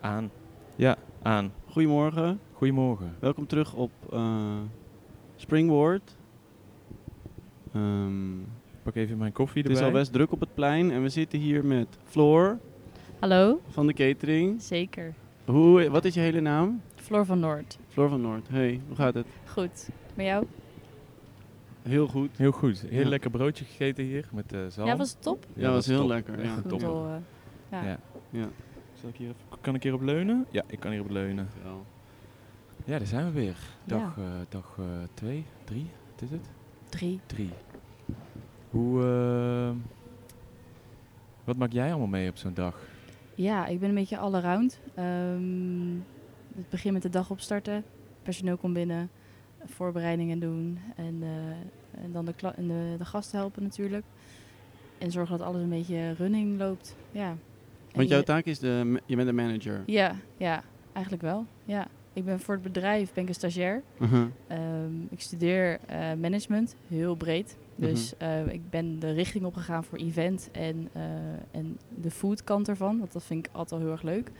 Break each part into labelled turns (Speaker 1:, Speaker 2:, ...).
Speaker 1: Aan.
Speaker 2: Ja.
Speaker 1: Aan.
Speaker 2: Goedemorgen,
Speaker 1: Goedemorgen.
Speaker 2: welkom terug op eh, Springboard. Ehm,
Speaker 1: Ik pak even mijn koffie
Speaker 2: het
Speaker 1: erbij.
Speaker 2: is al best druk op het plein en we zitten hier met Floor
Speaker 3: Hallo?
Speaker 2: van de catering.
Speaker 3: Zeker.
Speaker 2: Hoe, wat is je hele naam?
Speaker 3: Floor van Noord.
Speaker 2: Floor van Noord. Hey, hoe gaat het?
Speaker 3: Goed. Met jou?
Speaker 2: Heel goed.
Speaker 1: Heel goed. Heel
Speaker 2: Ja.
Speaker 1: lekker broodje gegeten hier met eh zalm.
Speaker 3: Ja, was het top? eh,
Speaker 2: Ja, was heel
Speaker 1: top.
Speaker 2: lekker,
Speaker 1: Echt
Speaker 2: ja.
Speaker 1: een
Speaker 3: Goed
Speaker 1: topper.
Speaker 3: te horen. Ja.
Speaker 1: Ja.
Speaker 2: Ja.
Speaker 1: Zal ik hier even- kan ik hierop leunen? Ja, ik kan hierop leunen. Ja, daar zijn we weer. Dag, eh, dag eh, twee, drie, wat is het?
Speaker 3: Drie.
Speaker 1: Drie. Hoe, eh, wat maak jij allemaal mee op zo'n dag?
Speaker 3: Ja, ik ben een beetje allround. Ehm het begin met de dag opstarten. Personeel komt binnen. Voorbereidingen doen. En, eh, en dan de, kla- en de, de gasten helpen natuurlijk. En zorgen dat alles een beetje running loopt. Ja. En
Speaker 2: Want
Speaker 3: je-
Speaker 2: jouw taak is, de, ma- je bent de manager.
Speaker 3: Ja, ja. Eigenlijk wel. Ja. Ik ben voor het bedrijf ben ik een stagiair.
Speaker 1: Mhm.
Speaker 2: Uh-huh.
Speaker 3: Ehm, ik studeer eh, management, heel breed. Dus eh, ik ben de richting opgegaan voor event en, eh, en de food kant ervan. Want dat vind ik altijd al heel erg leuk.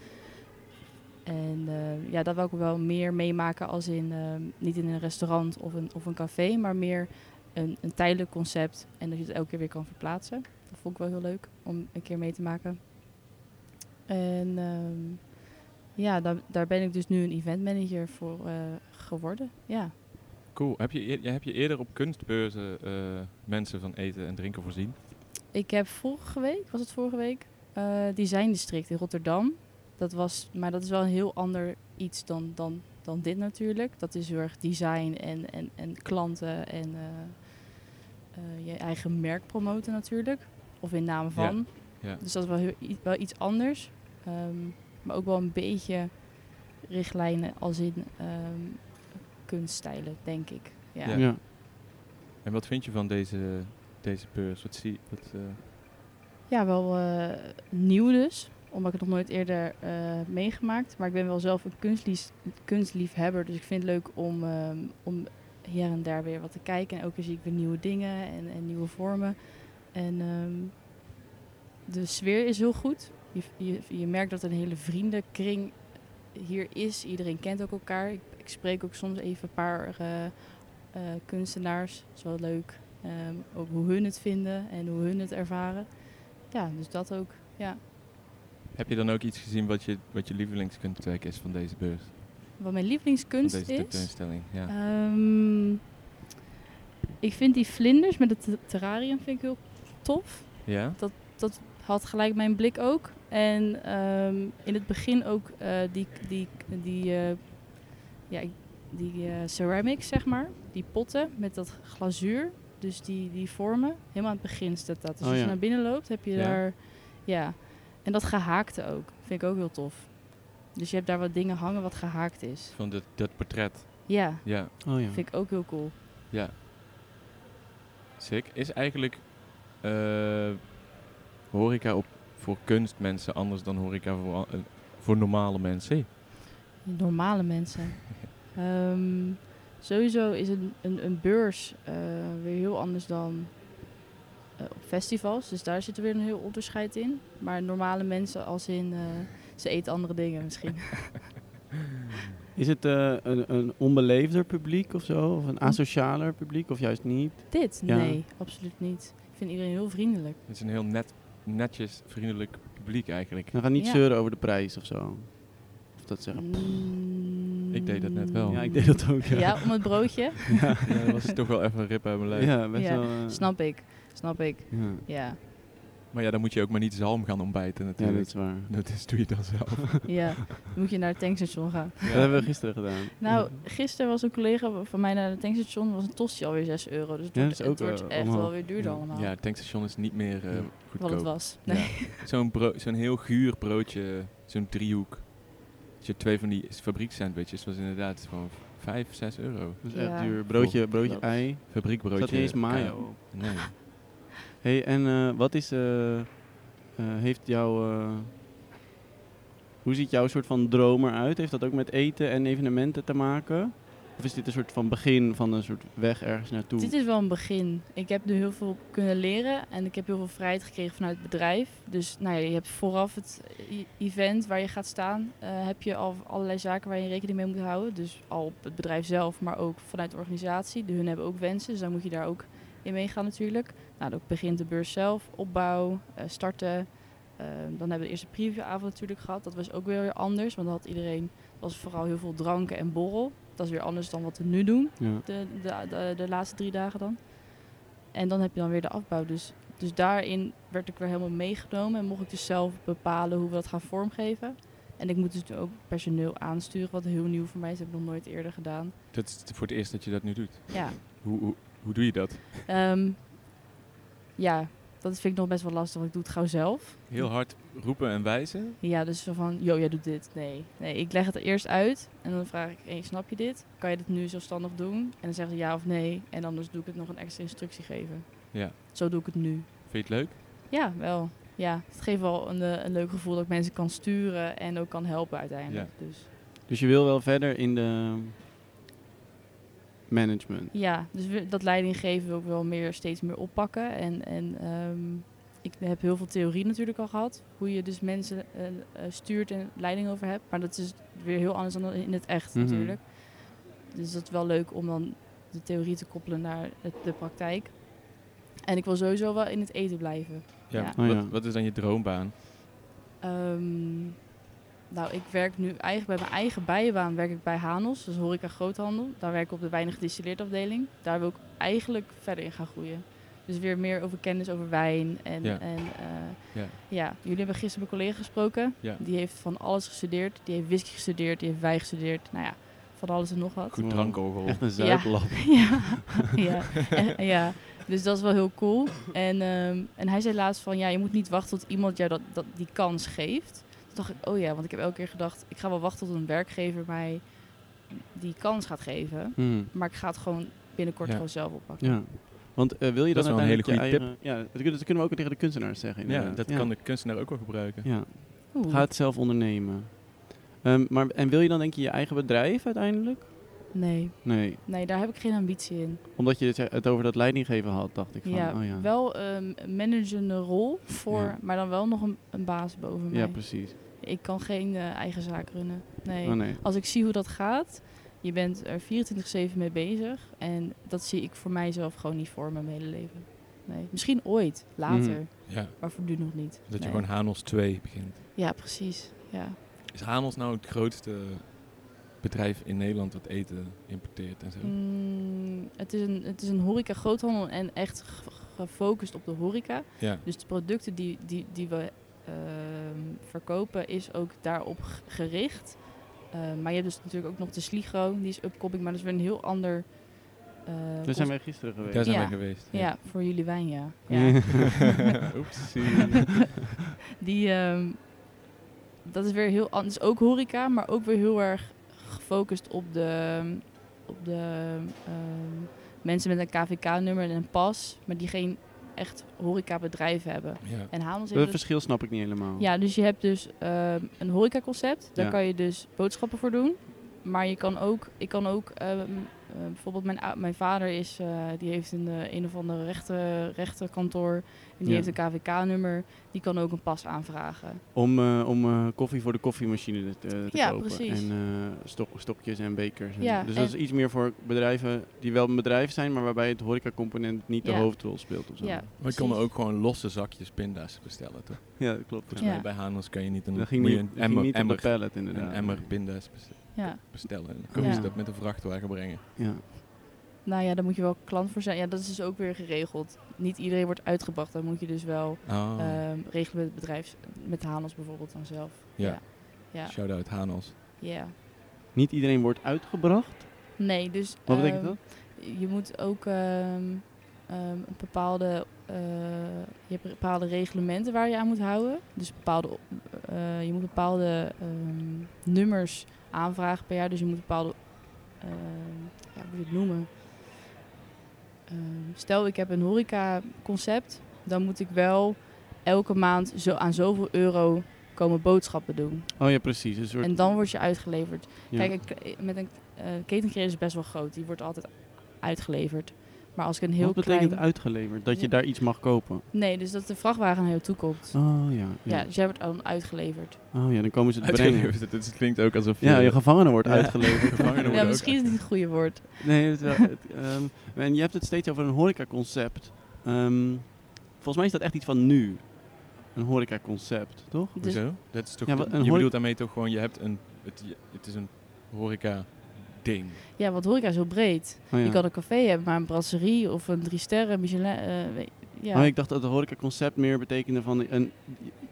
Speaker 3: En eh, ja, dat wil ik wel meer meemaken als in, ehm, niet in een restaurant of een, of een café, maar meer een, een tijdelijk concept. En dat je het elke keer weer kan verplaatsen. Dat vond ik wel heel leuk om een keer mee te maken. En ehm, ja, daar, daar ben ik dus nu een eventmanager voor eh, geworden. Ja.
Speaker 1: Cool. Heb je, eer- heb je eerder op kunstbeurzen eh, mensen van eten en drinken voorzien?
Speaker 3: Ik heb vorige week, was het vorige week, eh Design District in Rotterdam. Dat was, maar dat is wel een heel ander iets dan, dan, dan dit natuurlijk. Dat is heel erg design en, en, en klanten en eh, eh, je eigen merk promoten natuurlijk. Of in naam van.
Speaker 1: ja.
Speaker 3: Dus dat is wel, heel, i- wel iets anders. Ehm, maar ook wel een beetje richtlijnen als in ehm, kunststijlen, denk ik. Ja.
Speaker 1: Ja.
Speaker 2: Ja.
Speaker 1: En wat vind je van deze, deze beurs? Wat zie wat, eh,
Speaker 3: Ja, wel eh, nieuw dus. Omdat ik het nog nooit eerder eh, meegemaakt. Maar ik ben wel zelf een kunstlies, kunstliefhebber. Dus ik vind het leuk om, ehm, om hier en daar weer wat te kijken. En ook weer zie ik weer nieuwe dingen en, en nieuwe vormen. En ehm, de sfeer is heel goed. Je, je, je merkt dat een hele vriendenkring hier is. Iedereen kent ook elkaar. Ik, ik spreek ook soms even een paar eh, eh, kunstenaars. Dat is wel leuk. Ehm, ook hoe hun het vinden en hoe hun het ervaren. Ja, dus dat ook. Ja.
Speaker 1: heb je dan ook iets gezien wat je, wat je lievelingskunstwerk is van deze beurs?
Speaker 3: Wat mijn
Speaker 1: Van
Speaker 3: lievelingskunst
Speaker 1: deze
Speaker 3: is.
Speaker 1: tentoonstelling? Ja.
Speaker 3: Ehm, ik vind die vlinders met het ter- terrarium vind ik heel tof.
Speaker 1: ja?
Speaker 3: Had gelijk mijn blik ook. En ehm, in het begin ook eh, die, die, die, eh, ja, ik- die eh, ceramics, zeg maar. Die potten met dat glazuur. Dus die, die vormen. Helemaal aan het begin staat dat. Dus
Speaker 2: Oh,
Speaker 3: als je
Speaker 2: ja.
Speaker 3: naar binnen loopt, heb je
Speaker 1: Ja.
Speaker 3: daar... Ja. En dat gehaakte ook. Vind ik ook heel tof. Dus je hebt daar wat dingen hangen wat gehaakt is.
Speaker 1: Van dat, dat portret.
Speaker 3: Ja,
Speaker 1: Ja,
Speaker 2: Oh ja.
Speaker 3: vind ik ook heel cool.
Speaker 1: ja. Sick. Is eigenlijk eh, horeca op, voor kunstmensen anders dan horeca voor, al- eh, voor normale mensen?
Speaker 3: Normale mensen. Ehm, sowieso is een, een, een beurs eh, weer heel anders dan eh, op festivals. Dus daar zit weer een heel onderscheid in. Maar normale mensen als in, eh, ze eten andere dingen misschien.
Speaker 2: Is het eh, een, een onbeleefder publiek of zo? Of een asocialer publiek of juist niet?
Speaker 3: Dit?
Speaker 2: Ja.
Speaker 3: Nee, absoluut niet. Ik vind iedereen heel vriendelijk.
Speaker 1: Het is een heel net, netjes, vriendelijk publiek eigenlijk.
Speaker 2: Dan gaan niet
Speaker 3: Ja.
Speaker 2: zeuren over de prijs of zo. Of dat zeggen.
Speaker 3: Mm.
Speaker 1: Ik deed dat net wel.
Speaker 2: Ja, ik deed dat ook. Ja,
Speaker 3: Ja, om het broodje?
Speaker 1: ja, dat was toch wel even een rip uit mijn lijf.
Speaker 2: Ja, best
Speaker 3: Ja.
Speaker 2: wel. eh,
Speaker 3: Snap ik, snap ik.
Speaker 2: Ja.
Speaker 3: Ja,
Speaker 1: Maar ja, dan moet je ook maar niet zalm gaan ontbijten
Speaker 2: ja, dat
Speaker 1: natuurlijk.
Speaker 2: is waar.
Speaker 1: dat is, doe je dan zelf.
Speaker 3: ja. Dan moet je naar het tankstation gaan.
Speaker 2: Dat hebben we gisteren gedaan.
Speaker 3: Nou,
Speaker 2: Mhm.
Speaker 3: gisteren was een collega van mij naar het tankstation. was een tosti alweer 6 euro. Dus het
Speaker 2: Ja,
Speaker 3: wordt,
Speaker 2: dat is ook,
Speaker 3: het wordt
Speaker 2: eh,
Speaker 3: echt
Speaker 2: allemaal-
Speaker 3: wel weer duurder
Speaker 2: ja.
Speaker 3: allemaal.
Speaker 1: Ja, het tankstation is niet meer eh,
Speaker 2: Ja.
Speaker 1: goedkoop.
Speaker 3: wat het was.
Speaker 1: Ja.
Speaker 3: Nee.
Speaker 1: Zo'n bro- zo'n heel guur broodje, zo'n driehoek. Als je twee van die fabrieksandwiches, was inderdaad gewoon v- vijf, zes euro.
Speaker 2: Dat is
Speaker 3: Ja.
Speaker 2: echt duur. Broodje, broodje
Speaker 3: Klopt.
Speaker 2: ei.
Speaker 1: Fabriekbroodje.
Speaker 2: Er zat niet eens mayo
Speaker 1: kaas.
Speaker 2: op.
Speaker 1: Nee.
Speaker 2: hey, en eh, wat is... eh, eh, heeft jouw... eh, hoe ziet jouw soort van droom eruit? Heeft dat ook met eten en evenementen te maken? Of is dit een soort van begin van een soort weg ergens naartoe?
Speaker 3: Dit is wel een begin. Ik heb nu heel veel kunnen leren en ik heb heel veel vrijheid gekregen vanuit het bedrijf. Dus nou ja, je hebt vooraf het e- event waar je gaat staan, eh, heb je al allerlei zaken waar je rekening mee moet houden. Dus al op het bedrijf zelf, maar ook vanuit de organisatie. De hun hebben ook wensen, dus dan moet je daar ook in meegaan natuurlijk. Nou, dan begint de beurs zelf, opbouw, eh, starten. Eh, dan hebben we de eerste previewavond natuurlijk gehad. Dat was ook weer weer anders, want dan had iedereen, was vooral heel veel dranken en borrel. Dat is weer anders dan wat we nu doen
Speaker 2: Ja.
Speaker 3: de, de, de, de laatste drie dagen dan. En dan heb je dan weer de afbouw. Dus, dus daarin werd ik weer helemaal meegenomen en mocht ik dus zelf bepalen hoe we dat gaan vormgeven. En ik moet dus nu ook personeel aansturen, wat heel nieuw voor mij is. Dat heb ik nog nooit eerder gedaan.
Speaker 1: Dat is t- voor het eerst dat je dat nu doet.
Speaker 3: Ja,
Speaker 1: Hoe, hoe, hoe doe je dat?
Speaker 3: ehm, ja dat vind ik nog best wel lastig, want ik doe het gauw zelf.
Speaker 1: Heel hard roepen en wijzen?
Speaker 3: Ja, dus zo van, joh, jij doet dit. Nee, nee, ik leg het er eerst uit en dan vraag ik, hey, snap je dit? Kan je dit nu zelfstandig doen? En dan zeggen ze ja of nee. En anders doe ik het nog een extra instructie geven.
Speaker 1: Ja.
Speaker 3: Zo doe ik het nu.
Speaker 1: Vind je het leuk?
Speaker 3: Ja, wel. Ja, het geeft wel een, eh, een leuk gevoel dat ik mensen kan sturen en ook kan helpen uiteindelijk. Dus,
Speaker 2: Dus je wil wel verder in de management.
Speaker 3: ja, dus we- dat leidinggeven wil ik wel meer, steeds meer oppakken. En, en ehm, ik heb heel veel theorie natuurlijk al gehad. Hoe je dus mensen eh, eh, stuurt en leiding over hebt. Maar dat is weer heel anders dan in het echt
Speaker 2: Mhm.
Speaker 3: natuurlijk. Dus dat is wel leuk om dan de theorie te koppelen naar het, de praktijk. En ik wil sowieso wel in het eten blijven. Ja.
Speaker 2: Oh, ja.
Speaker 1: Wat, wat is dan je droombaan?
Speaker 3: Ehm, nou, ik werk nu eigenlijk bij mijn eigen bijenbaan werk ik bij Hanos, dus horeca groothandel. Daar werk ik op de weinig gedistilleerd afdeling. Daar wil ik eigenlijk verder in gaan groeien. Dus weer meer over kennis over wijn. En,
Speaker 1: Ja.
Speaker 3: en, eh,
Speaker 1: Ja.
Speaker 3: ja, jullie hebben gisteren mijn collega gesproken.
Speaker 1: Ja.
Speaker 3: Die heeft van alles gestudeerd. Die heeft whisky gestudeerd, die heeft wijn gestudeerd. Nou ja, van alles en nog wat.
Speaker 1: Goed
Speaker 2: Wow.
Speaker 1: drankorgel.
Speaker 2: Echt een zuiplap.
Speaker 3: Ja, ja. En- ja. Dus dat is wel heel cool. En, ehm, en hij zei laatst van, ja, je moet niet wachten tot iemand jou dat, dat, die kans geeft. Toen dacht ik, oh ja, want ik heb elke keer gedacht, ik ga wel wachten tot een werkgever mij die kans gaat geven.
Speaker 2: Hmm.
Speaker 3: Maar ik ga het gewoon binnenkort
Speaker 1: Ja.
Speaker 3: gewoon zelf oppakken.
Speaker 2: Ja. Want eh, wil je
Speaker 1: Dat
Speaker 2: dan
Speaker 1: is wel een hele
Speaker 2: uiteindelijk je
Speaker 1: goede tip.
Speaker 2: eigen- Ja, dat kunnen, dat kunnen we ook tegen de kunstenaars zeggen.
Speaker 1: Ja,
Speaker 2: inderdaad.
Speaker 1: dat
Speaker 2: Ja.
Speaker 1: kan de kunstenaar ook wel gebruiken.
Speaker 2: Ja.
Speaker 3: Oeh.
Speaker 2: Ga het zelf ondernemen. Ehm, maar, en wil je dan denk je je eigen bedrijf uiteindelijk?
Speaker 3: Nee,
Speaker 2: Nee,
Speaker 3: nee, daar heb ik geen ambitie in.
Speaker 2: omdat je het, het over dat leidinggeven had, dacht ik van,
Speaker 3: ja,
Speaker 2: oh ja.
Speaker 3: Wel ehm, een managende rol voor,
Speaker 2: Ja.
Speaker 3: maar dan wel nog een, een baas boven
Speaker 2: ja,
Speaker 3: mij.
Speaker 2: precies.
Speaker 3: ik kan geen eh, eigen zaak runnen. Nee.
Speaker 2: Oh nee.
Speaker 3: als ik zie hoe dat gaat, je bent er 24-7 mee bezig. En dat zie ik voor mijzelf gewoon niet voor mijn hele leven. Nee. Misschien ooit, later,
Speaker 1: Ja,
Speaker 3: maar voor nu nog niet.
Speaker 1: Mhm. dat je
Speaker 3: Nee.
Speaker 1: gewoon Hanos 2 begint.
Speaker 3: Ja, precies. Ja.
Speaker 1: Is Hanos nou het grootste bedrijf in Nederland dat eten importeert en zo?
Speaker 3: Mm, het, is een, het is een horeca groothandel en echt ge- gefocust op de horeca.
Speaker 1: Ja.
Speaker 3: Dus de producten die, die, die we ehm, verkopen is ook daarop g- gericht. Eh, maar je hebt dus natuurlijk ook nog de Sligro, die is upcoming, maar dat is weer een heel ander... eh,
Speaker 2: Daar zijn wij gisteren
Speaker 1: Daar
Speaker 2: geweest.
Speaker 1: zijn
Speaker 3: Ja.
Speaker 1: wij geweest.
Speaker 3: Ja, voor jullie wijn, ja. ja.
Speaker 1: Oepsie.
Speaker 3: Die, ehm, dat is weer heel anders. Ook horeca, maar ook weer heel erg gefocust op de, op de ehm, mensen met een KVK-nummer en een pas, maar die geen echt horecabedrijf hebben.
Speaker 1: Ja.
Speaker 3: En Hamels
Speaker 2: Dat
Speaker 3: heeft dus,
Speaker 2: verschil snap ik niet helemaal.
Speaker 3: ja, dus je hebt dus ehm, een horecaconcept, daar
Speaker 2: Ja.
Speaker 3: kan je dus boodschappen voor doen, maar je kan ook, ik kan ook, ehm, eh, bijvoorbeeld mijn, ou- mijn vader is, eh, die heeft een, eh, een of ander rechter, rechterkantoor en die
Speaker 2: Ja.
Speaker 3: heeft een KVK-nummer, die kan ook een pas aanvragen.
Speaker 2: Om, eh, om eh, koffie voor de koffiemachine te, eh, te
Speaker 3: Ja,
Speaker 2: kopen.
Speaker 3: precies.
Speaker 2: En eh, stok- stokjes en bekers. en
Speaker 3: Ja,
Speaker 2: zo. dus dat
Speaker 3: en-
Speaker 2: is iets meer voor bedrijven die wel een bedrijf zijn, maar waarbij het horecacomponent niet de
Speaker 3: Ja.
Speaker 2: hoofdrol speelt of zo.
Speaker 3: Ja,
Speaker 1: Maar je kon ook gewoon losse zakjes pinda's bestellen, toch?
Speaker 2: Ja, dat klopt.
Speaker 1: Volgens
Speaker 3: Ja.
Speaker 1: mij bij Hanos kan je niet een,
Speaker 2: Dat ging
Speaker 1: moet
Speaker 2: niet,
Speaker 1: je een
Speaker 2: dat ging
Speaker 1: emmer,
Speaker 2: niet op de
Speaker 1: emmer,
Speaker 2: pallet
Speaker 1: een
Speaker 2: inderdaad.
Speaker 1: emmer pinda's bes-
Speaker 3: Ja,
Speaker 1: bestellen. En dan komen
Speaker 3: Ja.
Speaker 1: ze dat met een vrachtwagen brengen.
Speaker 2: Ja.
Speaker 3: nou ja, daar moet je wel klant voor zijn. Ja, dat is dus ook weer geregeld. Niet iedereen wordt uitgebracht. Dan moet je dus wel
Speaker 1: Oh,
Speaker 3: ehm, regelen met het bedrijf, met Hanos bijvoorbeeld dan zelf.
Speaker 1: Ja.
Speaker 3: Ja, ja.
Speaker 1: shout-out Hanos.
Speaker 3: ja.
Speaker 2: Niet iedereen wordt uitgebracht.
Speaker 3: Nee, dus...
Speaker 2: Wat betekent
Speaker 3: ehm,
Speaker 2: dat?
Speaker 3: Je moet ook ehm, ehm, een bepaalde... eh, je hebt bepaalde reglementen waar je aan moet houden. Dus bepaalde, op- eh, je moet bepaalde ehm, nummers aanvragen per jaar. Dus je moet bepaalde... ehm, ja, hoe moet je het noemen? Ehm, stel, ik heb een horeca concept. Dan moet ik wel elke maand zo aan zoveel euro komen boodschappen doen.
Speaker 2: Oh ja, precies. Een soort,
Speaker 3: En dan word je uitgeleverd.
Speaker 2: ja.
Speaker 3: Kijk, een k- met een eh ketenkring is best wel groot. Die wordt altijd uitgeleverd. Maar als ik een heel
Speaker 2: Wat betekent
Speaker 3: klein...
Speaker 2: uitgeleverd? Dat je daar iets mag kopen?
Speaker 3: Nee, dus dat de vrachtwagen naar jou toe komt.
Speaker 2: Oh ja.
Speaker 3: Ja,
Speaker 2: ja.
Speaker 3: dus jij wordt dan uitgeleverd.
Speaker 2: Oh ja, dan komen ze het brengen.
Speaker 1: Uitgeleverd. Het klinkt ook alsof
Speaker 2: Ja, je
Speaker 1: je
Speaker 2: gevangene wordt
Speaker 1: Ja.
Speaker 2: uitgeleverd.
Speaker 1: gevangenen
Speaker 3: ja,
Speaker 1: worden ook
Speaker 3: misschien is het niet het goede woord.
Speaker 2: Nee, het, wel- het, ehm, en je hebt het steeds over een horecaconcept. Ehm volgens mij is dat echt iets van nu. Een horecaconcept, toch?
Speaker 3: Dus-
Speaker 1: Hoezo? Dat is toch,
Speaker 2: Ja, wa- een
Speaker 1: je
Speaker 2: hor-
Speaker 1: bedoelt daarmee toch gewoon, je hebt een, het, je- het is een horeca ding.
Speaker 3: Ja, want horeca is heel breed.
Speaker 2: Oh, ja.
Speaker 3: Je kan een café hebben, maar een brasserie of een drie sterren, Michelin... eh, weet- ja.
Speaker 2: Oh, ik dacht dat het horecaconcept meer betekende van een,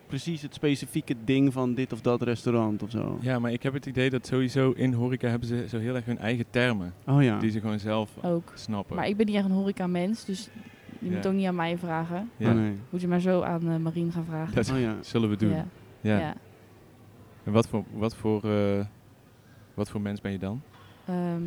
Speaker 2: precies het specifieke ding van dit of dat restaurant of zo.
Speaker 1: Ja, maar ik heb het idee dat sowieso in horeca hebben ze zo heel erg hun eigen termen.
Speaker 2: Oh ja.
Speaker 1: Die ze gewoon zelf
Speaker 3: Ook.
Speaker 1: snappen.
Speaker 3: Maar ik ben niet echt een horeca-mens, dus je moet
Speaker 1: Ja.
Speaker 3: ook niet aan mij vragen.
Speaker 1: ja,
Speaker 2: Oh, nee.
Speaker 3: Moet je maar zo aan eh, Marien gaan vragen.
Speaker 1: Dat
Speaker 2: Oh, ja.
Speaker 1: zullen we doen.
Speaker 3: Ja.
Speaker 1: Ja.
Speaker 3: Ja.
Speaker 1: En wat voor, wat, voor, eh, wat voor mens ben je dan?
Speaker 3: Ehm,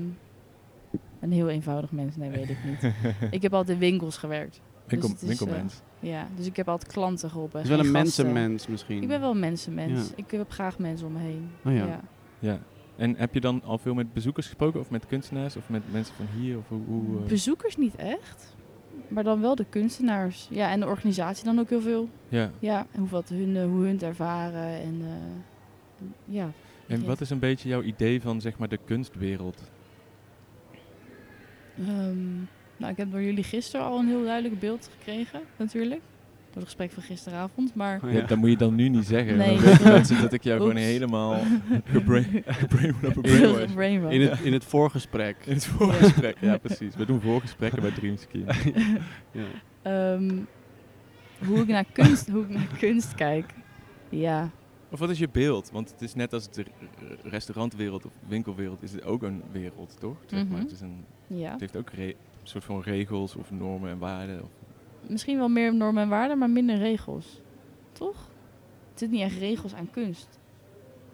Speaker 3: een heel eenvoudig mens, nee, weet ik niet. ik heb altijd in winkels gewerkt.
Speaker 1: Winkel,
Speaker 3: Dus het is,
Speaker 1: winkelmens.
Speaker 3: Ja, dus ik heb altijd klanten geholpen.
Speaker 2: Het is wel
Speaker 3: geen
Speaker 2: een
Speaker 3: gasten.
Speaker 2: mensenmens misschien.
Speaker 3: Ik ben wel een mensenmens.
Speaker 2: Ja.
Speaker 3: Ik heb graag mensen om me heen.
Speaker 2: Oh ja.
Speaker 1: ja. En heb je dan al veel met bezoekers gesproken? Of met kunstenaars? Of met mensen van hier? Of hoe, hoe, eh,
Speaker 3: Bezoekers niet echt, maar dan wel de kunstenaars. Ja, en de organisatie dan ook heel veel.
Speaker 1: ja.
Speaker 3: Ja, en hoe, wat hun, eh, hoe hun het ervaren. En, eh, ja.
Speaker 1: En wat is een beetje jouw idee van zeg maar de kunstwereld?
Speaker 3: Ehm, nou, ik heb door jullie gisteren al een heel duidelijk beeld gekregen, natuurlijk. Door het gesprek van gisteravond. Maar
Speaker 2: Oh,
Speaker 1: Ja,
Speaker 2: ja.
Speaker 1: dat moet je dan nu niet zeggen.
Speaker 3: Nee.
Speaker 1: Dan weten mensen dat ik jou gewoon
Speaker 3: Oeps.
Speaker 1: helemaal gebra- gebra-
Speaker 3: Heel
Speaker 1: gebrainwashed.
Speaker 3: veel brainwash.
Speaker 2: In, het, in het voorgesprek.
Speaker 1: In het voorgesprek, ja precies. We doen voorgesprekken bij Dreamski.
Speaker 2: Ja.
Speaker 3: Ehm, hoe, ik naar kunst, hoe ik naar kunst kijk. Ja,
Speaker 1: Of wat is je beeld? Want het is net als de r- restaurantwereld of winkelwereld is het ook een wereld, toch? Zeg maar,
Speaker 3: Mhm.
Speaker 1: het, is een,
Speaker 3: ja.
Speaker 1: het heeft ook re- soort van regels of normen en waarden. Of,
Speaker 3: Misschien wel meer normen en waarden, maar minder regels. Toch? Het zit niet echt regels aan kunst.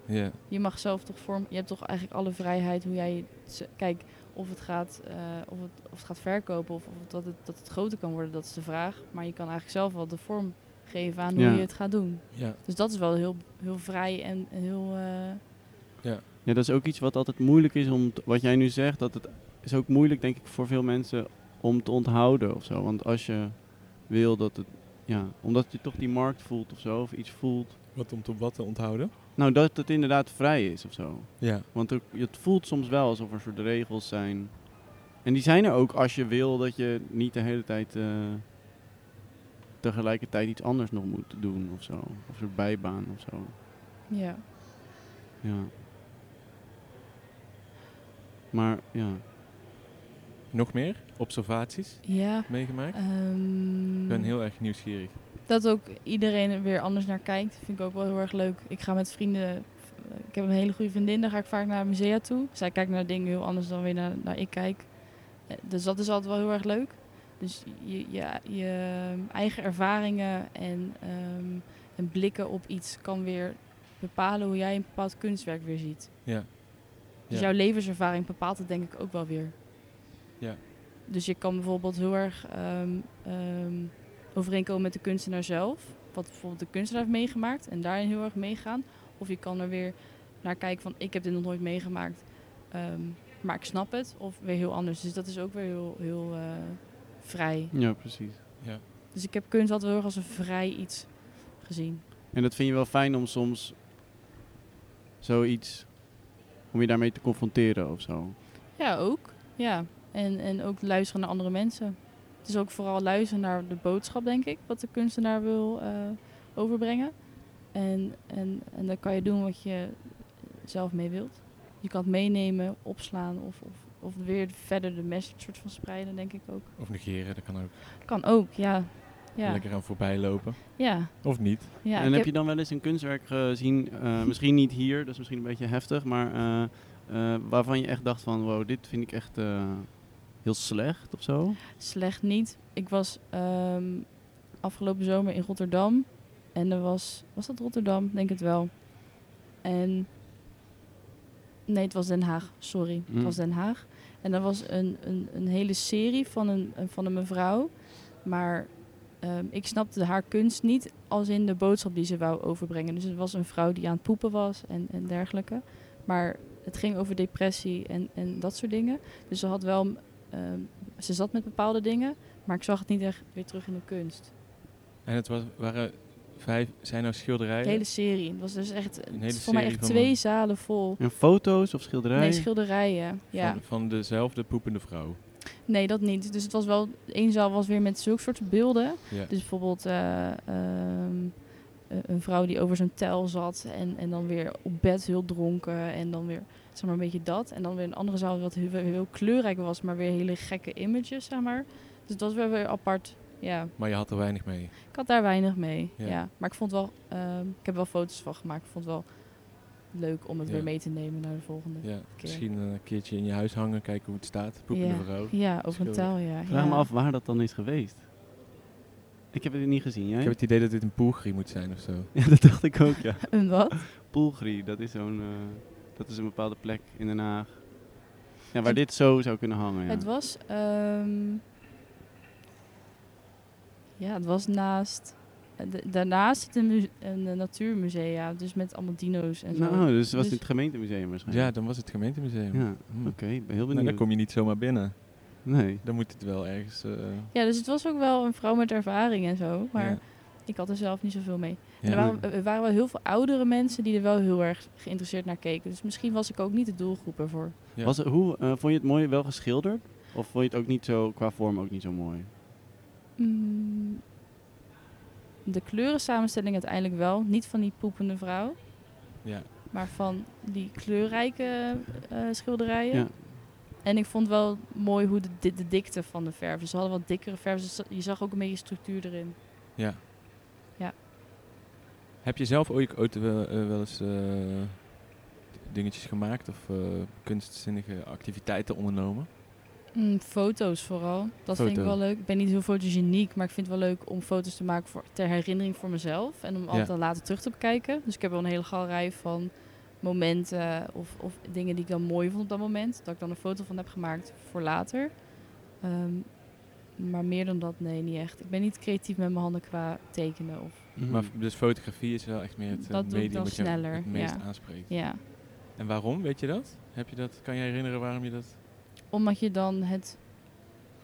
Speaker 1: ja.
Speaker 3: Je mag zelf toch vorm... Je hebt toch eigenlijk alle vrijheid hoe jij... het z- Kijk, of het gaat, eh, of het, of het gaat verkopen of, of dat, het, dat het groter kan worden, dat is de vraag. Maar je kan eigenlijk zelf wel de vorm geven aan hoe
Speaker 2: Ja.
Speaker 3: je het gaat doen.
Speaker 1: Ja.
Speaker 3: Dus dat is wel heel, heel vrij en en heel... eh,
Speaker 2: Ja, dat is ook iets wat altijd moeilijk is om, t- wat jij nu zegt, dat het is ook moeilijk denk ik voor veel mensen om te onthouden of zo. Want als je wil dat het, ja, omdat je toch die markt voelt of zo, of iets voelt.
Speaker 1: Wat om te wat te onthouden?
Speaker 2: Nou, dat het inderdaad vrij is of zo.
Speaker 1: Ja.
Speaker 2: Want ook- het voelt soms wel alsof er soort regels zijn. En die zijn er ook als je wil dat je niet de hele tijd eh, tegelijkertijd iets anders nog moet doen of zo. Of een bijbaan of zo.
Speaker 3: ja.
Speaker 2: Ja. Maar ja.
Speaker 1: Nog meer observaties
Speaker 3: Ja.
Speaker 1: meegemaakt?
Speaker 3: ehm,
Speaker 1: Ik ben heel erg nieuwsgierig.
Speaker 3: Dat ook iedereen er weer anders naar kijkt, vind ik ook wel heel erg leuk. Ik ga met vrienden, ik heb een hele goede vriendin, daar ga ik vaak naar musea toe. Zij kijkt naar dingen heel anders dan weer naar, naar ik kijk. Eh, Dus dat is altijd wel heel erg leuk. Dus je, ja, je ehm, eigen ervaringen en, ehm, en blikken op iets kan weer bepalen hoe jij een bepaald kunstwerk weer ziet.
Speaker 1: Ja.
Speaker 3: Dus
Speaker 1: Ja.
Speaker 3: jouw levenservaring bepaalt het denk ik ook wel weer.
Speaker 1: Ja.
Speaker 3: Dus je kan bijvoorbeeld heel erg ehm, ehm, overeenkomen met de kunstenaar zelf. Wat bijvoorbeeld de kunstenaar heeft meegemaakt en daarin heel erg meegaan. Of je kan er weer naar kijken van ik heb dit nog nooit meegemaakt, ehm, maar ik snap het. Of weer heel anders. Dus dat is ook weer heel, heel eh, vrij.
Speaker 2: Ja, precies.
Speaker 3: Dus ik heb kunst altijd heel erg als een vrij iets gezien.
Speaker 2: En dat vind je wel fijn om soms zoiets, om je daarmee te confronteren of zo.
Speaker 3: Ja, ook. Ja. En, en ook luisteren naar andere mensen. Het is ook vooral luisteren naar de boodschap, denk ik, wat de kunstenaar wil eh, overbrengen. En, en, en dan kan je doen wat je zelf mee wilt. Je kan het meenemen, opslaan of, of, of weer verder de message soort van spreiden, denk ik ook.
Speaker 1: Of negeren, dat kan ook.
Speaker 3: Kan ook, ja. Ja,
Speaker 1: Lekker aan voorbij lopen.
Speaker 3: ja.
Speaker 1: Of niet.
Speaker 3: ja.
Speaker 2: en
Speaker 3: ik
Speaker 2: heb je dan wel eens een kunstwerk gezien, eh, misschien niet hier, dat is misschien een beetje heftig, maar eh, eh, waarvan je echt dacht van, wow, dit vind ik echt eh, heel slecht of zo?
Speaker 3: Slecht niet. Ik was ehm, afgelopen zomer in Rotterdam. En er was... Was dat Rotterdam? Denk het wel. En... Nee, het was Den Haag. Sorry. Het
Speaker 2: Mm.
Speaker 3: was Den Haag. En er was een, een, een hele serie van een, een- van een mevrouw. Maar ehm, ik snapte haar kunst niet als in de boodschap die ze wou overbrengen. Dus het was een vrouw die aan het poepen was en, en dergelijke. Maar het ging over depressie en, en dat soort dingen. Dus ze had wel, ehm, ze zat met bepaalde dingen, maar ik zag het niet echt weer terug in de kunst.
Speaker 1: En het was, waren vijf, zijn nou schilderijen?
Speaker 3: De hele serie. Het was dus echt,
Speaker 1: Een hele
Speaker 3: het is voor mij
Speaker 1: serie
Speaker 3: echt
Speaker 1: van-
Speaker 3: twee zalen vol.
Speaker 2: En foto's of schilderijen?
Speaker 3: Nee, schilderijen. Ja.
Speaker 1: van, van dezelfde poepende vrouw.
Speaker 3: Nee, dat niet. Dus het was wel, één zaal was weer met zulke soort beelden.
Speaker 1: Ja.
Speaker 3: Dus bijvoorbeeld eh, ehm, eh, een vrouw die over zijn tel zat en, en dan weer op bed heel dronken en dan weer zeg maar een beetje dat. En dan weer een andere zaal wat heel, heel kleurrijk was, maar weer hele gekke images, zeg maar. Dus dat was wel weer apart. Ja,
Speaker 1: Maar je had er weinig mee.
Speaker 3: ik had daar weinig mee.
Speaker 1: Ja.
Speaker 3: Ja. Maar ik vond wel, ehm, ik heb wel foto's van gemaakt. Ik vond het wel leuk om het
Speaker 1: Ja.
Speaker 3: weer mee te nemen naar de volgende. Ja,
Speaker 1: Ja. Misschien een keertje in je huis hangen, kijken hoe het staat. Poepende
Speaker 3: Ja.
Speaker 1: vrouw.
Speaker 3: over een
Speaker 1: Schilder.
Speaker 3: tel, ja.
Speaker 2: Vraag
Speaker 3: ja.
Speaker 2: me af waar dat dan is geweest. Ik heb het niet gezien, jij?
Speaker 1: Ik heb het idee dat dit een poelgrie moet zijn of zo.
Speaker 2: Ja, dat dacht ik ook, ja.
Speaker 3: Een wat?
Speaker 2: Poelgrie, dat is zo'n... eh, dat is een bepaalde plek in Den Haag. Ja, waar dit zo zou kunnen hangen, ja.
Speaker 3: Het was. ehm, ja, het was naast. eh, da- daarnaast zit een, mu- een eh, natuurmusea, dus met allemaal dino's en zo.
Speaker 2: Nou, dus het was
Speaker 3: Dus-
Speaker 2: in het gemeentemuseum
Speaker 1: Ja,
Speaker 2: waarschijnlijk.
Speaker 1: dan was het gemeentemuseum.
Speaker 2: Ja,
Speaker 1: Hmm.
Speaker 2: oké, ik ben heel
Speaker 1: Nou,
Speaker 2: benieuwd.
Speaker 1: dan kom je niet zomaar binnen.
Speaker 2: Nee.
Speaker 1: Dan moet het wel ergens... eh,
Speaker 3: Ja, dus het was ook wel een vrouw met ervaring en zo, maar
Speaker 1: ja.
Speaker 3: ik had er zelf niet zoveel mee. En
Speaker 1: Ja.
Speaker 3: er, waren, er waren wel heel veel oudere mensen die er wel heel erg geïnteresseerd naar keken, dus misschien was ik ook niet de doelgroep ervoor.
Speaker 1: Ja.
Speaker 2: Was het, hoe, eh, vond je het mooi wel geschilderd? Of vond je het ook niet zo, qua vorm ook niet zo mooi?
Speaker 3: Mm, de kleurensamenstelling uiteindelijk wel, niet van die poepende vrouw,
Speaker 1: Ja.
Speaker 3: maar van die kleurrijke eh, schilderijen.
Speaker 2: Ja.
Speaker 3: En ik vond wel mooi hoe de, di- de dikte van de verf. Dus ze hadden wat dikkere verf. Dus je zag ook een beetje structuur erin.
Speaker 1: Ja.
Speaker 3: Ja.
Speaker 1: Heb je zelf ooit, ooit wel, eh, wel eens eh, dingetjes gemaakt of eh, kunstzinnige activiteiten ondernomen?
Speaker 3: Mm, foto's vooral. Dat vind ik
Speaker 1: Foto.
Speaker 3: wel leuk. Ik ben niet heel fotogeniek, maar ik vind het wel leuk om foto's te maken voor, ter herinnering voor mezelf. En om altijd dan later terug te bekijken. Dus ik heb wel een hele galerij van momenten of, of dingen die ik dan mooi vond op dat moment. Dat ik dan een foto van heb gemaakt voor later. Ehm, maar meer dan dat, nee, niet echt. Ik ben niet creatief met mijn handen qua tekenen of
Speaker 2: Hmm.
Speaker 1: Maar f- dus fotografie is wel echt meer het eh,
Speaker 3: Dat doe ik
Speaker 1: medium
Speaker 3: dan
Speaker 1: wat jou
Speaker 3: sneller,
Speaker 1: het meest
Speaker 3: ja.
Speaker 1: aanspreekt.
Speaker 3: ja.
Speaker 1: En waarom, weet je dat? Heb je dat? Kan je herinneren waarom je dat...
Speaker 3: Omdat je dan het,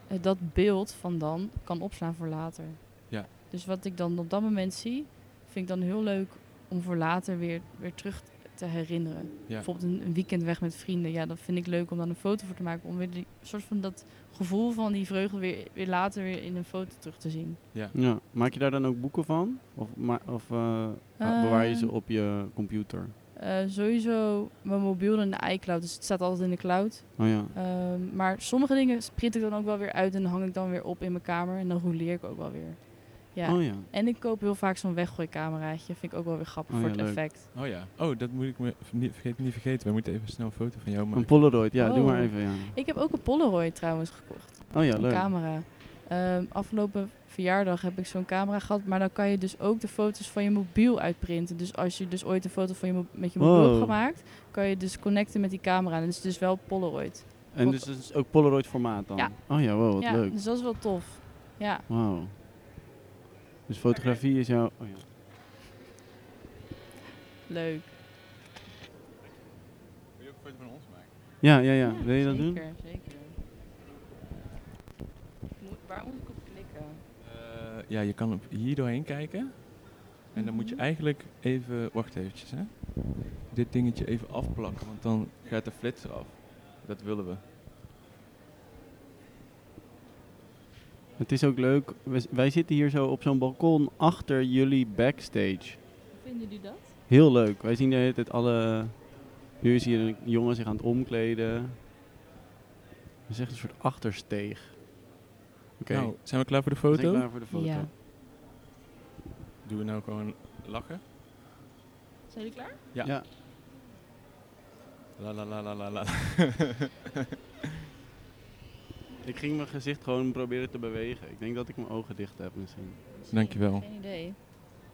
Speaker 3: eh, dat beeld van dan kan opslaan voor later.
Speaker 1: Ja.
Speaker 3: Dus wat ik dan op dat moment zie, vind ik dan heel leuk om voor later weer, weer terug te herinneren.
Speaker 1: Ja.
Speaker 3: Bijvoorbeeld een, een weekend weg met vrienden. Ja, dat vind ik leuk om dan een foto voor te maken. Om weer die soort van dat gevoel van die vreugde weer, weer later weer in een foto terug te zien.
Speaker 2: Ja, maak je daar dan ook boeken van? Of, ma- of eh,
Speaker 3: Eh.
Speaker 2: bewaar je ze op je computer?
Speaker 3: Eh, sowieso mijn mobiel en de iCloud. Dus het staat altijd in de cloud.
Speaker 2: Oh ja.
Speaker 3: Ehm, maar sommige dingen print ik dan ook wel weer uit en hang ik dan weer op in mijn kamer. En dan roleer ik ook wel weer. Ja.
Speaker 2: Oh ja.
Speaker 3: En ik koop heel vaak zo'n weggooicameraatje. Vind ik ook wel weer grappig
Speaker 2: Oh
Speaker 3: voor
Speaker 2: ja,
Speaker 3: het
Speaker 2: leuk.
Speaker 3: effect.
Speaker 1: Oh ja, oh, dat moet ik me v- niet, vergeet, niet vergeten. We moeten even snel een foto van jou
Speaker 2: Een
Speaker 1: maken.
Speaker 2: Polaroid, ja, doe
Speaker 3: Oh.
Speaker 2: maar even. Ja.
Speaker 3: Ik heb ook een Polaroid trouwens gekocht.
Speaker 2: Oh ja,
Speaker 3: een
Speaker 2: leuk.
Speaker 3: camera. Ehm, afgelopen verjaardag heb ik zo'n camera gehad. Maar dan kan je dus ook de foto's van je mobiel uitprinten. Dus als je dus ooit een foto van je mo- met je mobiel
Speaker 2: Wow.
Speaker 3: hebt gemaakt... kan je dus connecten met die camera. En het is dus wel Polaroid.
Speaker 2: En dus het is ook Polaroid formaat dan?
Speaker 3: Ja.
Speaker 2: Oh ja, wow, wat
Speaker 3: ja,
Speaker 2: leuk.
Speaker 3: dus dat is wel tof. Ja.
Speaker 2: Wauw. Dus fotografie is jouw... Oh ja.
Speaker 3: Leuk.
Speaker 1: Wil je ook een foto van ons maken?
Speaker 2: Ja, ja, ja. Wil je dat doen?
Speaker 3: zeker, Zeker, Moet- Waar moet ik op klikken?
Speaker 1: Eh, ja, je kan op hier doorheen kijken. En dan moet je
Speaker 3: Mhm.
Speaker 1: eigenlijk even, wacht eventjes hè. Dit dingetje even afplakken, want dan gaat de flits af. Dat willen we.
Speaker 2: Het is ook leuk. we z- wij zitten hier zo op zo'n balkon achter jullie backstage.
Speaker 3: Vinden jullie dat?
Speaker 2: Heel leuk. Wij zien de hele tijd alle... Nu is hier een jongen zich aan het omkleden. Het is echt een soort achtersteeg. Oké.
Speaker 1: Nou, zijn we klaar voor de
Speaker 2: we zijn
Speaker 1: foto?
Speaker 2: klaar voor de foto.
Speaker 3: Ja.
Speaker 1: Doen we nou gewoon lachen?
Speaker 3: Zijn jullie klaar?
Speaker 1: Ja.
Speaker 2: Ja.
Speaker 1: La la la la la la.
Speaker 2: Ik ging mijn gezicht gewoon proberen te bewegen. Ik denk dat ik mijn ogen dicht heb misschien.
Speaker 1: Dankjewel.
Speaker 3: Geen idee.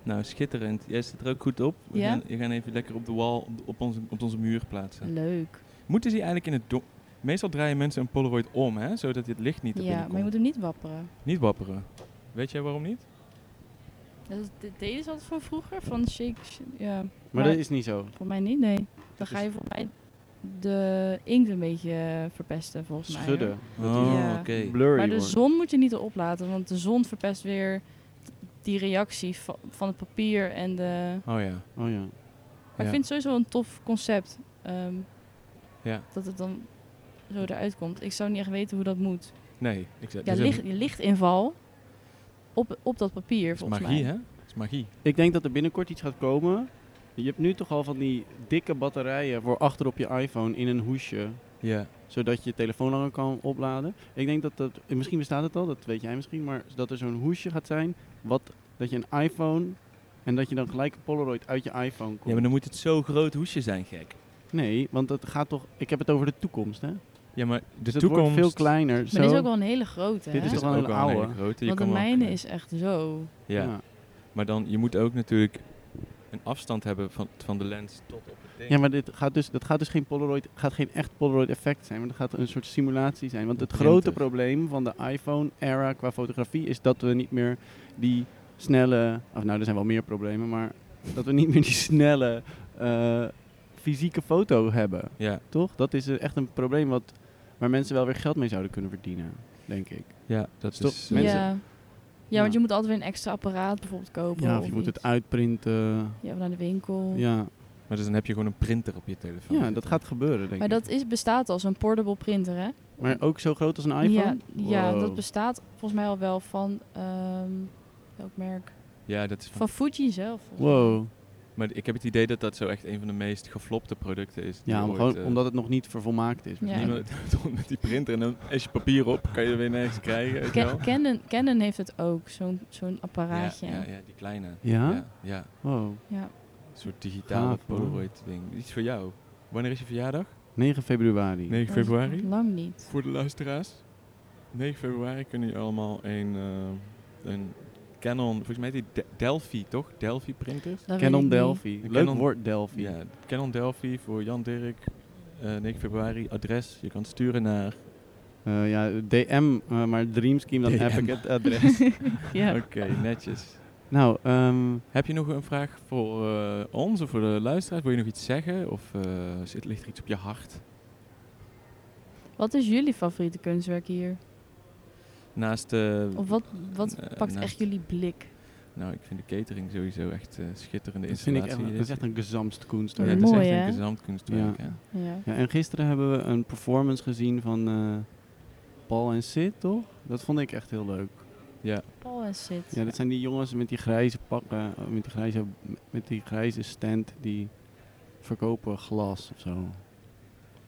Speaker 1: Nou, schitterend. Jij zit er ook goed op. We
Speaker 3: Ja?
Speaker 1: gaan, we gaan even lekker op de wal, op, de- op onze, op onze muur plaatsen.
Speaker 3: Leuk.
Speaker 1: Moeten ze die eigenlijk in het donker... Meestal draaien mensen een polaroid om, hè? Zodat dit licht niet er
Speaker 3: Ja, maar je
Speaker 1: binnenkomt.
Speaker 3: moet hem niet wapperen.
Speaker 1: Niet wapperen. Weet jij waarom niet?
Speaker 3: Dat is- dit deden ze altijd van vroeger, van shake. sh- Ja,
Speaker 2: Maar
Speaker 3: Maar-
Speaker 2: dat is niet zo.
Speaker 3: voor mij niet, nee. Dan
Speaker 2: Dat
Speaker 3: ga
Speaker 2: is
Speaker 3: je voor mij de inkt een beetje eh, verpesten, volgens mij. hoor.
Speaker 2: Schudden.
Speaker 1: Oh,
Speaker 3: Ja.
Speaker 1: oké.
Speaker 2: Blurry
Speaker 3: Maar de
Speaker 2: wordt.
Speaker 3: zon moet je niet erop laten, want de zon verpest weer t- die reactie va- van het papier en de...
Speaker 1: Oh ja.
Speaker 2: Oh ja.
Speaker 1: Ja.
Speaker 3: Maar ik vind het sowieso een tof concept, ehm,
Speaker 1: Ja.
Speaker 3: dat het dan zo eruit komt. Ik zou niet echt weten hoe dat moet.
Speaker 1: Nee, ik zeg, dus
Speaker 3: Ja,
Speaker 1: dat is
Speaker 3: licht, die lichtinval op, op dat papier,
Speaker 1: dat is
Speaker 3: volgens
Speaker 1: magie,
Speaker 3: mij.
Speaker 1: hè? Dat is magie.
Speaker 2: Ik denk dat er binnenkort iets gaat komen. Je hebt nu toch al van die dikke batterijen voor achter op je iPhone in een hoesje.
Speaker 1: Ja.
Speaker 2: Zodat je telefoon langer kan opladen. Ik denk dat dat, eh, misschien bestaat het al, dat weet jij misschien. Maar dat er zo'n hoesje gaat zijn. Wat, dat je een iPhone en dat je dan gelijk een Polaroid uit je iPhone komt.
Speaker 4: Ja, maar dan moet het zo'n groot hoesje zijn, gek.
Speaker 2: Nee, want dat gaat toch, ik heb het over de toekomst hè.
Speaker 1: Ja, maar de
Speaker 2: Dus het
Speaker 1: toekomst...
Speaker 2: wordt veel kleiner.
Speaker 3: Maar dit
Speaker 2: zo.
Speaker 3: is ook wel een hele grote,
Speaker 2: Dit
Speaker 3: hè?
Speaker 1: Dit is
Speaker 2: toch wel
Speaker 1: ook
Speaker 2: een
Speaker 1: wel een hele
Speaker 2: oude?
Speaker 1: grote. Je
Speaker 3: Want de
Speaker 1: kan wel-
Speaker 3: mijne is echt zo.
Speaker 1: Ja.
Speaker 2: ja.
Speaker 1: maar dan, je moet ook natuurlijk een afstand hebben van, van de lens tot op het ding.
Speaker 2: Ja, maar dit gaat dus, dat gaat dus geen Polaroid, gaat geen echt Polaroid effect zijn, maar dat gaat een soort simulatie zijn. Want het
Speaker 1: De
Speaker 2: grote
Speaker 1: printer.
Speaker 2: probleem van de iPhone-era qua fotografie is dat we niet meer die snelle, of nou er zijn wel meer problemen, maar dat we niet meer die snelle eh, fysieke foto hebben,
Speaker 1: Ja,
Speaker 2: toch? Dat is eh, echt een probleem wat, waar mensen wel weer geld mee zouden kunnen verdienen, denk ik.
Speaker 1: ja, dat
Speaker 2: Stop,
Speaker 1: is... eh,
Speaker 2: mensen-
Speaker 3: Ja. ja, want je moet altijd weer een extra apparaat bijvoorbeeld kopen.
Speaker 2: Ja, of
Speaker 3: of
Speaker 2: je moet
Speaker 3: iets.
Speaker 2: het uitprinten.
Speaker 3: Ja, of naar de winkel.
Speaker 2: Ja,
Speaker 1: Maar dus dan heb je gewoon een printer op je telefoon.
Speaker 2: ja dat gaat gebeuren, denk
Speaker 3: Maar
Speaker 2: ik.
Speaker 3: dat is, bestaat als een portable printer, hè?
Speaker 2: Maar ook zo groot als een iPhone?
Speaker 3: Ja, ja,
Speaker 2: Wow.
Speaker 3: dat bestaat volgens mij al wel van... ehm welk merk?
Speaker 1: Ja, dat is... Van,
Speaker 3: Van Fuji zelf. volgens mij.
Speaker 2: Wow.
Speaker 1: maar ik heb het idee dat dat zo echt een van de meest geflopte producten is. die
Speaker 2: Ja, om-
Speaker 1: ooit,
Speaker 2: gewoon
Speaker 1: eh,
Speaker 2: omdat het nog niet vervolmaakt is.
Speaker 3: Ja.
Speaker 1: Niemand doet met die printer en dan is je papier op, kan je er weer nergens krijgen. weet je wel?
Speaker 3: Ken- Canon, Canon heeft het ook, zo'n zo'n
Speaker 1: ja,
Speaker 3: apparaatje.
Speaker 1: ja, ja, die kleine.
Speaker 2: Ja?
Speaker 1: Ja, ja.
Speaker 2: Wow.
Speaker 3: Ja.
Speaker 1: Een soort digitale
Speaker 2: Gaaf, hoor.
Speaker 1: Polaroid ding. Iets voor jou. Wanneer is je verjaardag?
Speaker 2: 9 februari.
Speaker 1: 9
Speaker 3: Dat is Lang niet.
Speaker 1: Voor de luisteraars. 9 februari kunnen jullie allemaal een, eh, een Canon, volgens mij heet die De- Delphi toch? Delphi printers?
Speaker 3: Dat weet ik
Speaker 2: Canon
Speaker 3: niet.
Speaker 2: Delphi.
Speaker 1: De
Speaker 2: Leuk
Speaker 1: Canon-
Speaker 2: woord Delphi.
Speaker 1: Ja, Canon Delphi voor Jan Dirk. Eh, 9 februari, adres. Je kan sturen naar...
Speaker 2: Eh, ja, DM, eh, maar Dreamscheme, dan
Speaker 1: DM.
Speaker 2: heb ik het adres.
Speaker 3: Ja.
Speaker 1: Oké, netjes.
Speaker 2: nou, ehm,
Speaker 1: Heb je nog een vraag voor eh, ons of voor de luisteraars? Wil je nog iets zeggen? Of eh, zit, ligt er iets op je hart?
Speaker 3: Wat is jullie favoriete kunstwerk hier?
Speaker 1: Naast... eh,
Speaker 3: Of wat, wat
Speaker 1: eh,
Speaker 3: pakt
Speaker 1: naast-
Speaker 3: echt jullie blik?
Speaker 1: Nou, ik vind de catering sowieso echt eh, schitterende
Speaker 2: dat, vind ik
Speaker 1: installatie.
Speaker 2: echt, dat is echt een gezamstkunst.
Speaker 1: ja,
Speaker 3: Ja,
Speaker 1: dat
Speaker 3: mooi,
Speaker 1: is echt
Speaker 3: hè?
Speaker 1: een gezamtkunstwerk.
Speaker 2: Ja.
Speaker 1: hè?
Speaker 3: Ja.
Speaker 2: Ja, en gisteren hebben we een performance gezien van eh, Paul en Sid, toch? Dat vond ik echt heel leuk.
Speaker 3: Paul en Sid.
Speaker 2: Ja, dat zijn die jongens met die grijze pakken, eh, met die grijze, met die grijze stand, die verkopen glas of zo.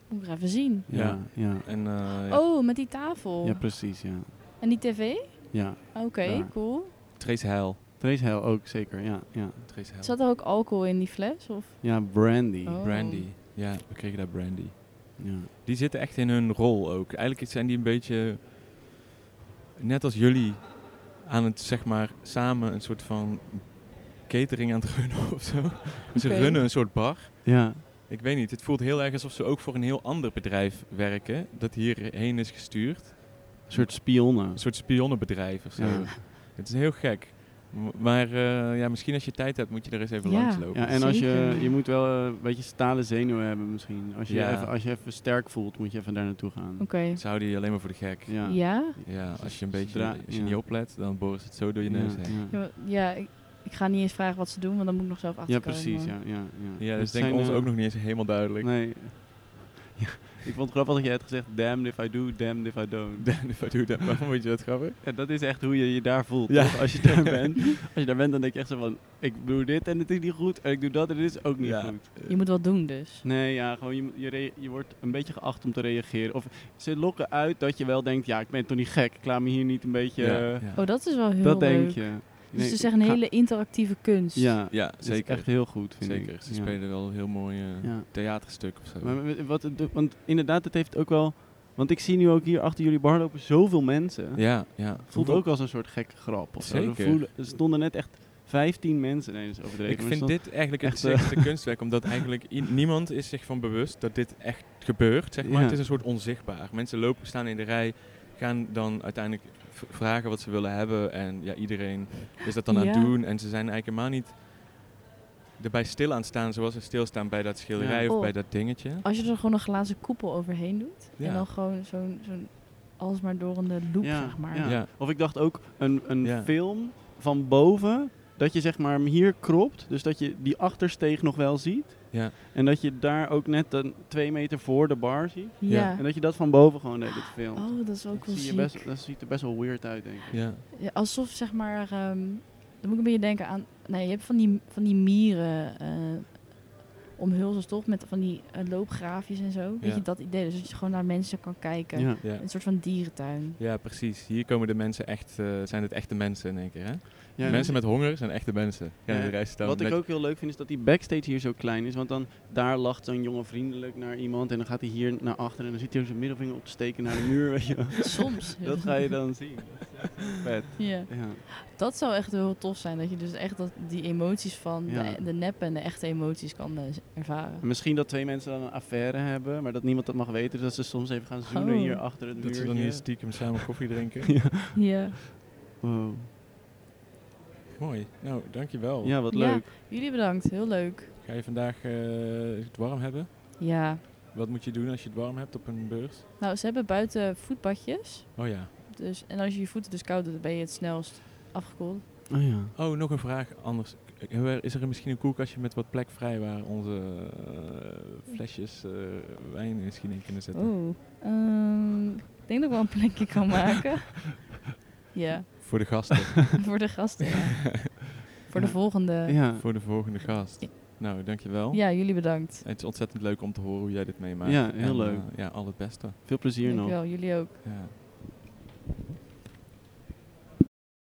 Speaker 3: Moet ik er even zien.
Speaker 1: Ja.
Speaker 2: Ja, ja.
Speaker 1: En eh, ja,
Speaker 3: Oh, met die tafel.
Speaker 2: Ja, precies, ja.
Speaker 3: En die tv?
Speaker 2: Ja,
Speaker 3: Oké,
Speaker 2: Daar.
Speaker 3: cool.
Speaker 1: Trace Heil.
Speaker 2: Trace Hell ook zeker, ja. Ja,
Speaker 1: Trace Heil.
Speaker 3: Zat er ook alcohol in die fles? Of?
Speaker 2: ja Brandy.
Speaker 3: Oh.
Speaker 1: Brandy. Ja, we kregen daar Brandy.
Speaker 2: Ja.
Speaker 1: Die zitten echt in hun rol ook. Eigenlijk zijn die een beetje, net als jullie, aan het zeg maar samen een soort van catering aan het runnen of zo. Ze
Speaker 3: Oké.
Speaker 1: runnen een soort bar.
Speaker 2: ja.
Speaker 1: Ik weet niet, het voelt heel erg alsof ze ook voor een heel ander bedrijf werken. Dat hierheen is gestuurd.
Speaker 2: Een soort spionnen.
Speaker 1: Een soort spionnenbedrijf of zo.
Speaker 2: Ja.
Speaker 1: Het is heel gek. M- Maar eh, ja, misschien als je tijd hebt, moet je er eens even
Speaker 3: Ja.
Speaker 1: langs lopen.
Speaker 2: Ja, en als je,
Speaker 3: Zeker.
Speaker 2: je moet wel eh, een beetje stalen zenuwen hebben misschien. Als je,
Speaker 1: Ja.
Speaker 2: even, als je even sterk voelt, moet je even daar naartoe gaan.
Speaker 3: Oké.
Speaker 1: Zouden die alleen maar voor de gek.
Speaker 2: Ja.
Speaker 3: Ja?
Speaker 1: Ja, als je een
Speaker 2: Zodra-
Speaker 1: beetje als je
Speaker 2: ja.
Speaker 1: niet oplet, dan boren ze het zo door je
Speaker 2: Ja,
Speaker 1: neus
Speaker 2: ja.
Speaker 1: heen.
Speaker 3: Ja, maar- ja ik, ik ga niet eens vragen wat ze doen, want dan moet ik nog zelf
Speaker 2: Ja,
Speaker 3: achterkomen.
Speaker 2: precies. Ja, ja, ja.
Speaker 1: Ja, dat
Speaker 2: Het
Speaker 1: is denk ik
Speaker 2: zijn,
Speaker 1: ons
Speaker 2: eh,
Speaker 1: ook nog niet eens helemaal duidelijk.
Speaker 2: Nee. Ja, ik vond het grappig dat jij had gezegd, damn if I do, damn if I don't.
Speaker 1: Dan- Wat doe je dat? Waarom moet je dat grappig?
Speaker 2: Ja, dat is echt hoe je je daar voelt.
Speaker 1: Ja.
Speaker 2: toch? Als je daar bent. Als je daar bent, dan denk je echt zo van, ik doe dit en het is niet goed. En ik doe dat en het is ook niet
Speaker 1: Ja.
Speaker 2: goed.
Speaker 3: Je moet wat doen dus.
Speaker 2: Nee, ja, gewoon je, moet- je, rea- je wordt een beetje geacht om te reageren. Of ze lokken uit dat je wel denkt, ja, ik ben toch niet gek. Ik laat me hier niet een beetje...
Speaker 1: Ja,
Speaker 2: eh,
Speaker 1: ja.
Speaker 3: Oh, dat is wel heel
Speaker 2: dat
Speaker 3: leuk.
Speaker 2: denk je.
Speaker 3: Dus
Speaker 2: Nee,
Speaker 3: het is echt een
Speaker 2: ga-
Speaker 3: hele interactieve kunst.
Speaker 2: Ja,
Speaker 1: Ja,
Speaker 2: zeker.
Speaker 1: zeker.
Speaker 2: echt heel goed, vind ik.
Speaker 1: zeker. Ze
Speaker 2: Ja.
Speaker 1: spelen wel een heel mooi eh,
Speaker 2: Ja.
Speaker 1: theaterstuk of zo.
Speaker 2: Maar w- wat, het do- want inderdaad, het heeft ook wel... Want ik zie nu ook hier achter jullie bar lopen zoveel mensen.
Speaker 1: ja, ja.
Speaker 2: Voelt ook als een soort gekke grap of zo. Er
Speaker 1: Zeker.
Speaker 2: voelen- Er stonden net echt 15 mensen. Nee, dat is overdreven.
Speaker 1: Ik
Speaker 2: maar
Speaker 1: vind
Speaker 2: er
Speaker 1: dit eigenlijk het
Speaker 2: echt, eh,
Speaker 1: zichtste kunstwerk, omdat eigenlijk i- niemand is zich van bewust dat dit echt gebeurt, zeg maar.
Speaker 2: Ja.
Speaker 1: Het is een soort onzichtbaar. Mensen lopen, staan in de rij, gaan dan uiteindelijk v- vragen wat ze willen hebben. En ja, iedereen is dat dan aan
Speaker 3: Ja.
Speaker 1: het doen. En ze zijn eigenlijk helemaal niet erbij stil aan het staan zoals ze stilstaan bij dat schilderij
Speaker 2: Ja.
Speaker 1: of
Speaker 3: Oh.
Speaker 1: bij dat dingetje.
Speaker 3: Als je er gewoon een glazen koepel overheen doet.
Speaker 1: Ja.
Speaker 3: En dan gewoon zo'n zo'n alsmaar dorende loop,
Speaker 2: Ja,
Speaker 3: zeg maar.
Speaker 2: ja.
Speaker 1: Ja.
Speaker 2: Of ik dacht ook een, een
Speaker 1: Ja.
Speaker 2: film van boven, dat je zeg maar hem hier kropt, dus dat je die achtersteeg nog wel ziet.
Speaker 1: Ja.
Speaker 2: En dat je daar ook net dan twee meter voor de bar ziet.
Speaker 1: Ja.
Speaker 3: Ja.
Speaker 2: En dat je dat van boven gewoon de hele tijd filmt.
Speaker 3: Oh, dat is ook wel
Speaker 2: dat, zie je
Speaker 3: ziek.
Speaker 2: best, dat ziet er best wel weird uit, denk ik.
Speaker 1: Ja.
Speaker 3: Ja, alsof zeg maar, ehm, dan moet ik een beetje denken aan, nee, je hebt van die, van die mieren eh omhulsels toch, met van die eh, loopgraafjes en zo. Weet
Speaker 1: Ja.
Speaker 3: je, dat idee, dus dat je gewoon naar mensen kan kijken.
Speaker 2: Ja.
Speaker 1: Ja.
Speaker 3: Een soort van dierentuin.
Speaker 1: ja, precies. Hier komen de mensen echt, eh, zijn het echte mensen in één keer. Hè?
Speaker 2: Ja,
Speaker 1: mensen met honger zijn echte mensen. Ja,
Speaker 2: Ja.
Speaker 1: de rest dan
Speaker 2: Wat ik
Speaker 1: met-
Speaker 2: ook heel leuk vind is dat die backstage hier zo klein is. Want dan daar lacht zo'n jongen vriendelijk naar iemand. En dan gaat hij hier naar achteren. En dan zit hij ook zijn middelvinger op te steken naar de muur. Weet je. wel.
Speaker 3: Soms.
Speaker 2: Dat ga je dan zien. Vet.
Speaker 3: ja.
Speaker 2: Ja.
Speaker 3: Dat zou echt heel tof zijn, dat je dus echt dat, die emoties van
Speaker 2: Ja.
Speaker 3: de, de neppen en de echte emoties kan eh, ervaren.
Speaker 2: En Misschien dat twee mensen dan een affaire hebben. Maar dat niemand dat mag weten. Dus dat ze soms even gaan zoenen
Speaker 3: Oh.
Speaker 2: hier achter het
Speaker 1: dat ze dan
Speaker 2: muurtje.
Speaker 1: hier stiekem samen koffie drinken.
Speaker 3: Ja.
Speaker 1: oh.
Speaker 2: Wow.
Speaker 1: Mooi. Nou, dankjewel.
Speaker 2: Ja, wat
Speaker 3: Ja.
Speaker 2: leuk.
Speaker 3: Jullie bedankt, heel leuk.
Speaker 1: Ga je vandaag eh, het warm hebben?
Speaker 3: Ja.
Speaker 1: Wat moet je doen als je het warm hebt op een beurs?
Speaker 3: Nou, ze hebben buiten voetbadjes.
Speaker 1: Oh ja.
Speaker 3: Dus, en als je je voeten dus koud doet, dan ben je het snelst afgekoeld.
Speaker 2: Oh ja.
Speaker 1: Oh, nog een vraag anders. K- eh, Is er misschien een koelkastje met wat plek vrij waar onze eh, flesjes eh, wijn misschien in kunnen zetten?
Speaker 2: Oh.
Speaker 3: Oeh. ehm, ik denk dat ik wel een plekje kan maken. ja,
Speaker 1: Voor de gasten.
Speaker 3: voor de gasten. ja. Voor de
Speaker 2: Ja.
Speaker 3: volgende. Ja,
Speaker 2: Ja.
Speaker 1: Voor de volgende gast.
Speaker 3: Ja.
Speaker 1: Nou, dankjewel.
Speaker 3: jullie bedankt.
Speaker 1: Het is ontzettend leuk om te horen hoe jij dit meemaakt.
Speaker 2: Ja, heel
Speaker 1: En,
Speaker 2: leuk.
Speaker 1: eh, ja, al het beste.
Speaker 2: Veel plezier nog.
Speaker 3: Dankjewel, jullie ook.
Speaker 1: Ja.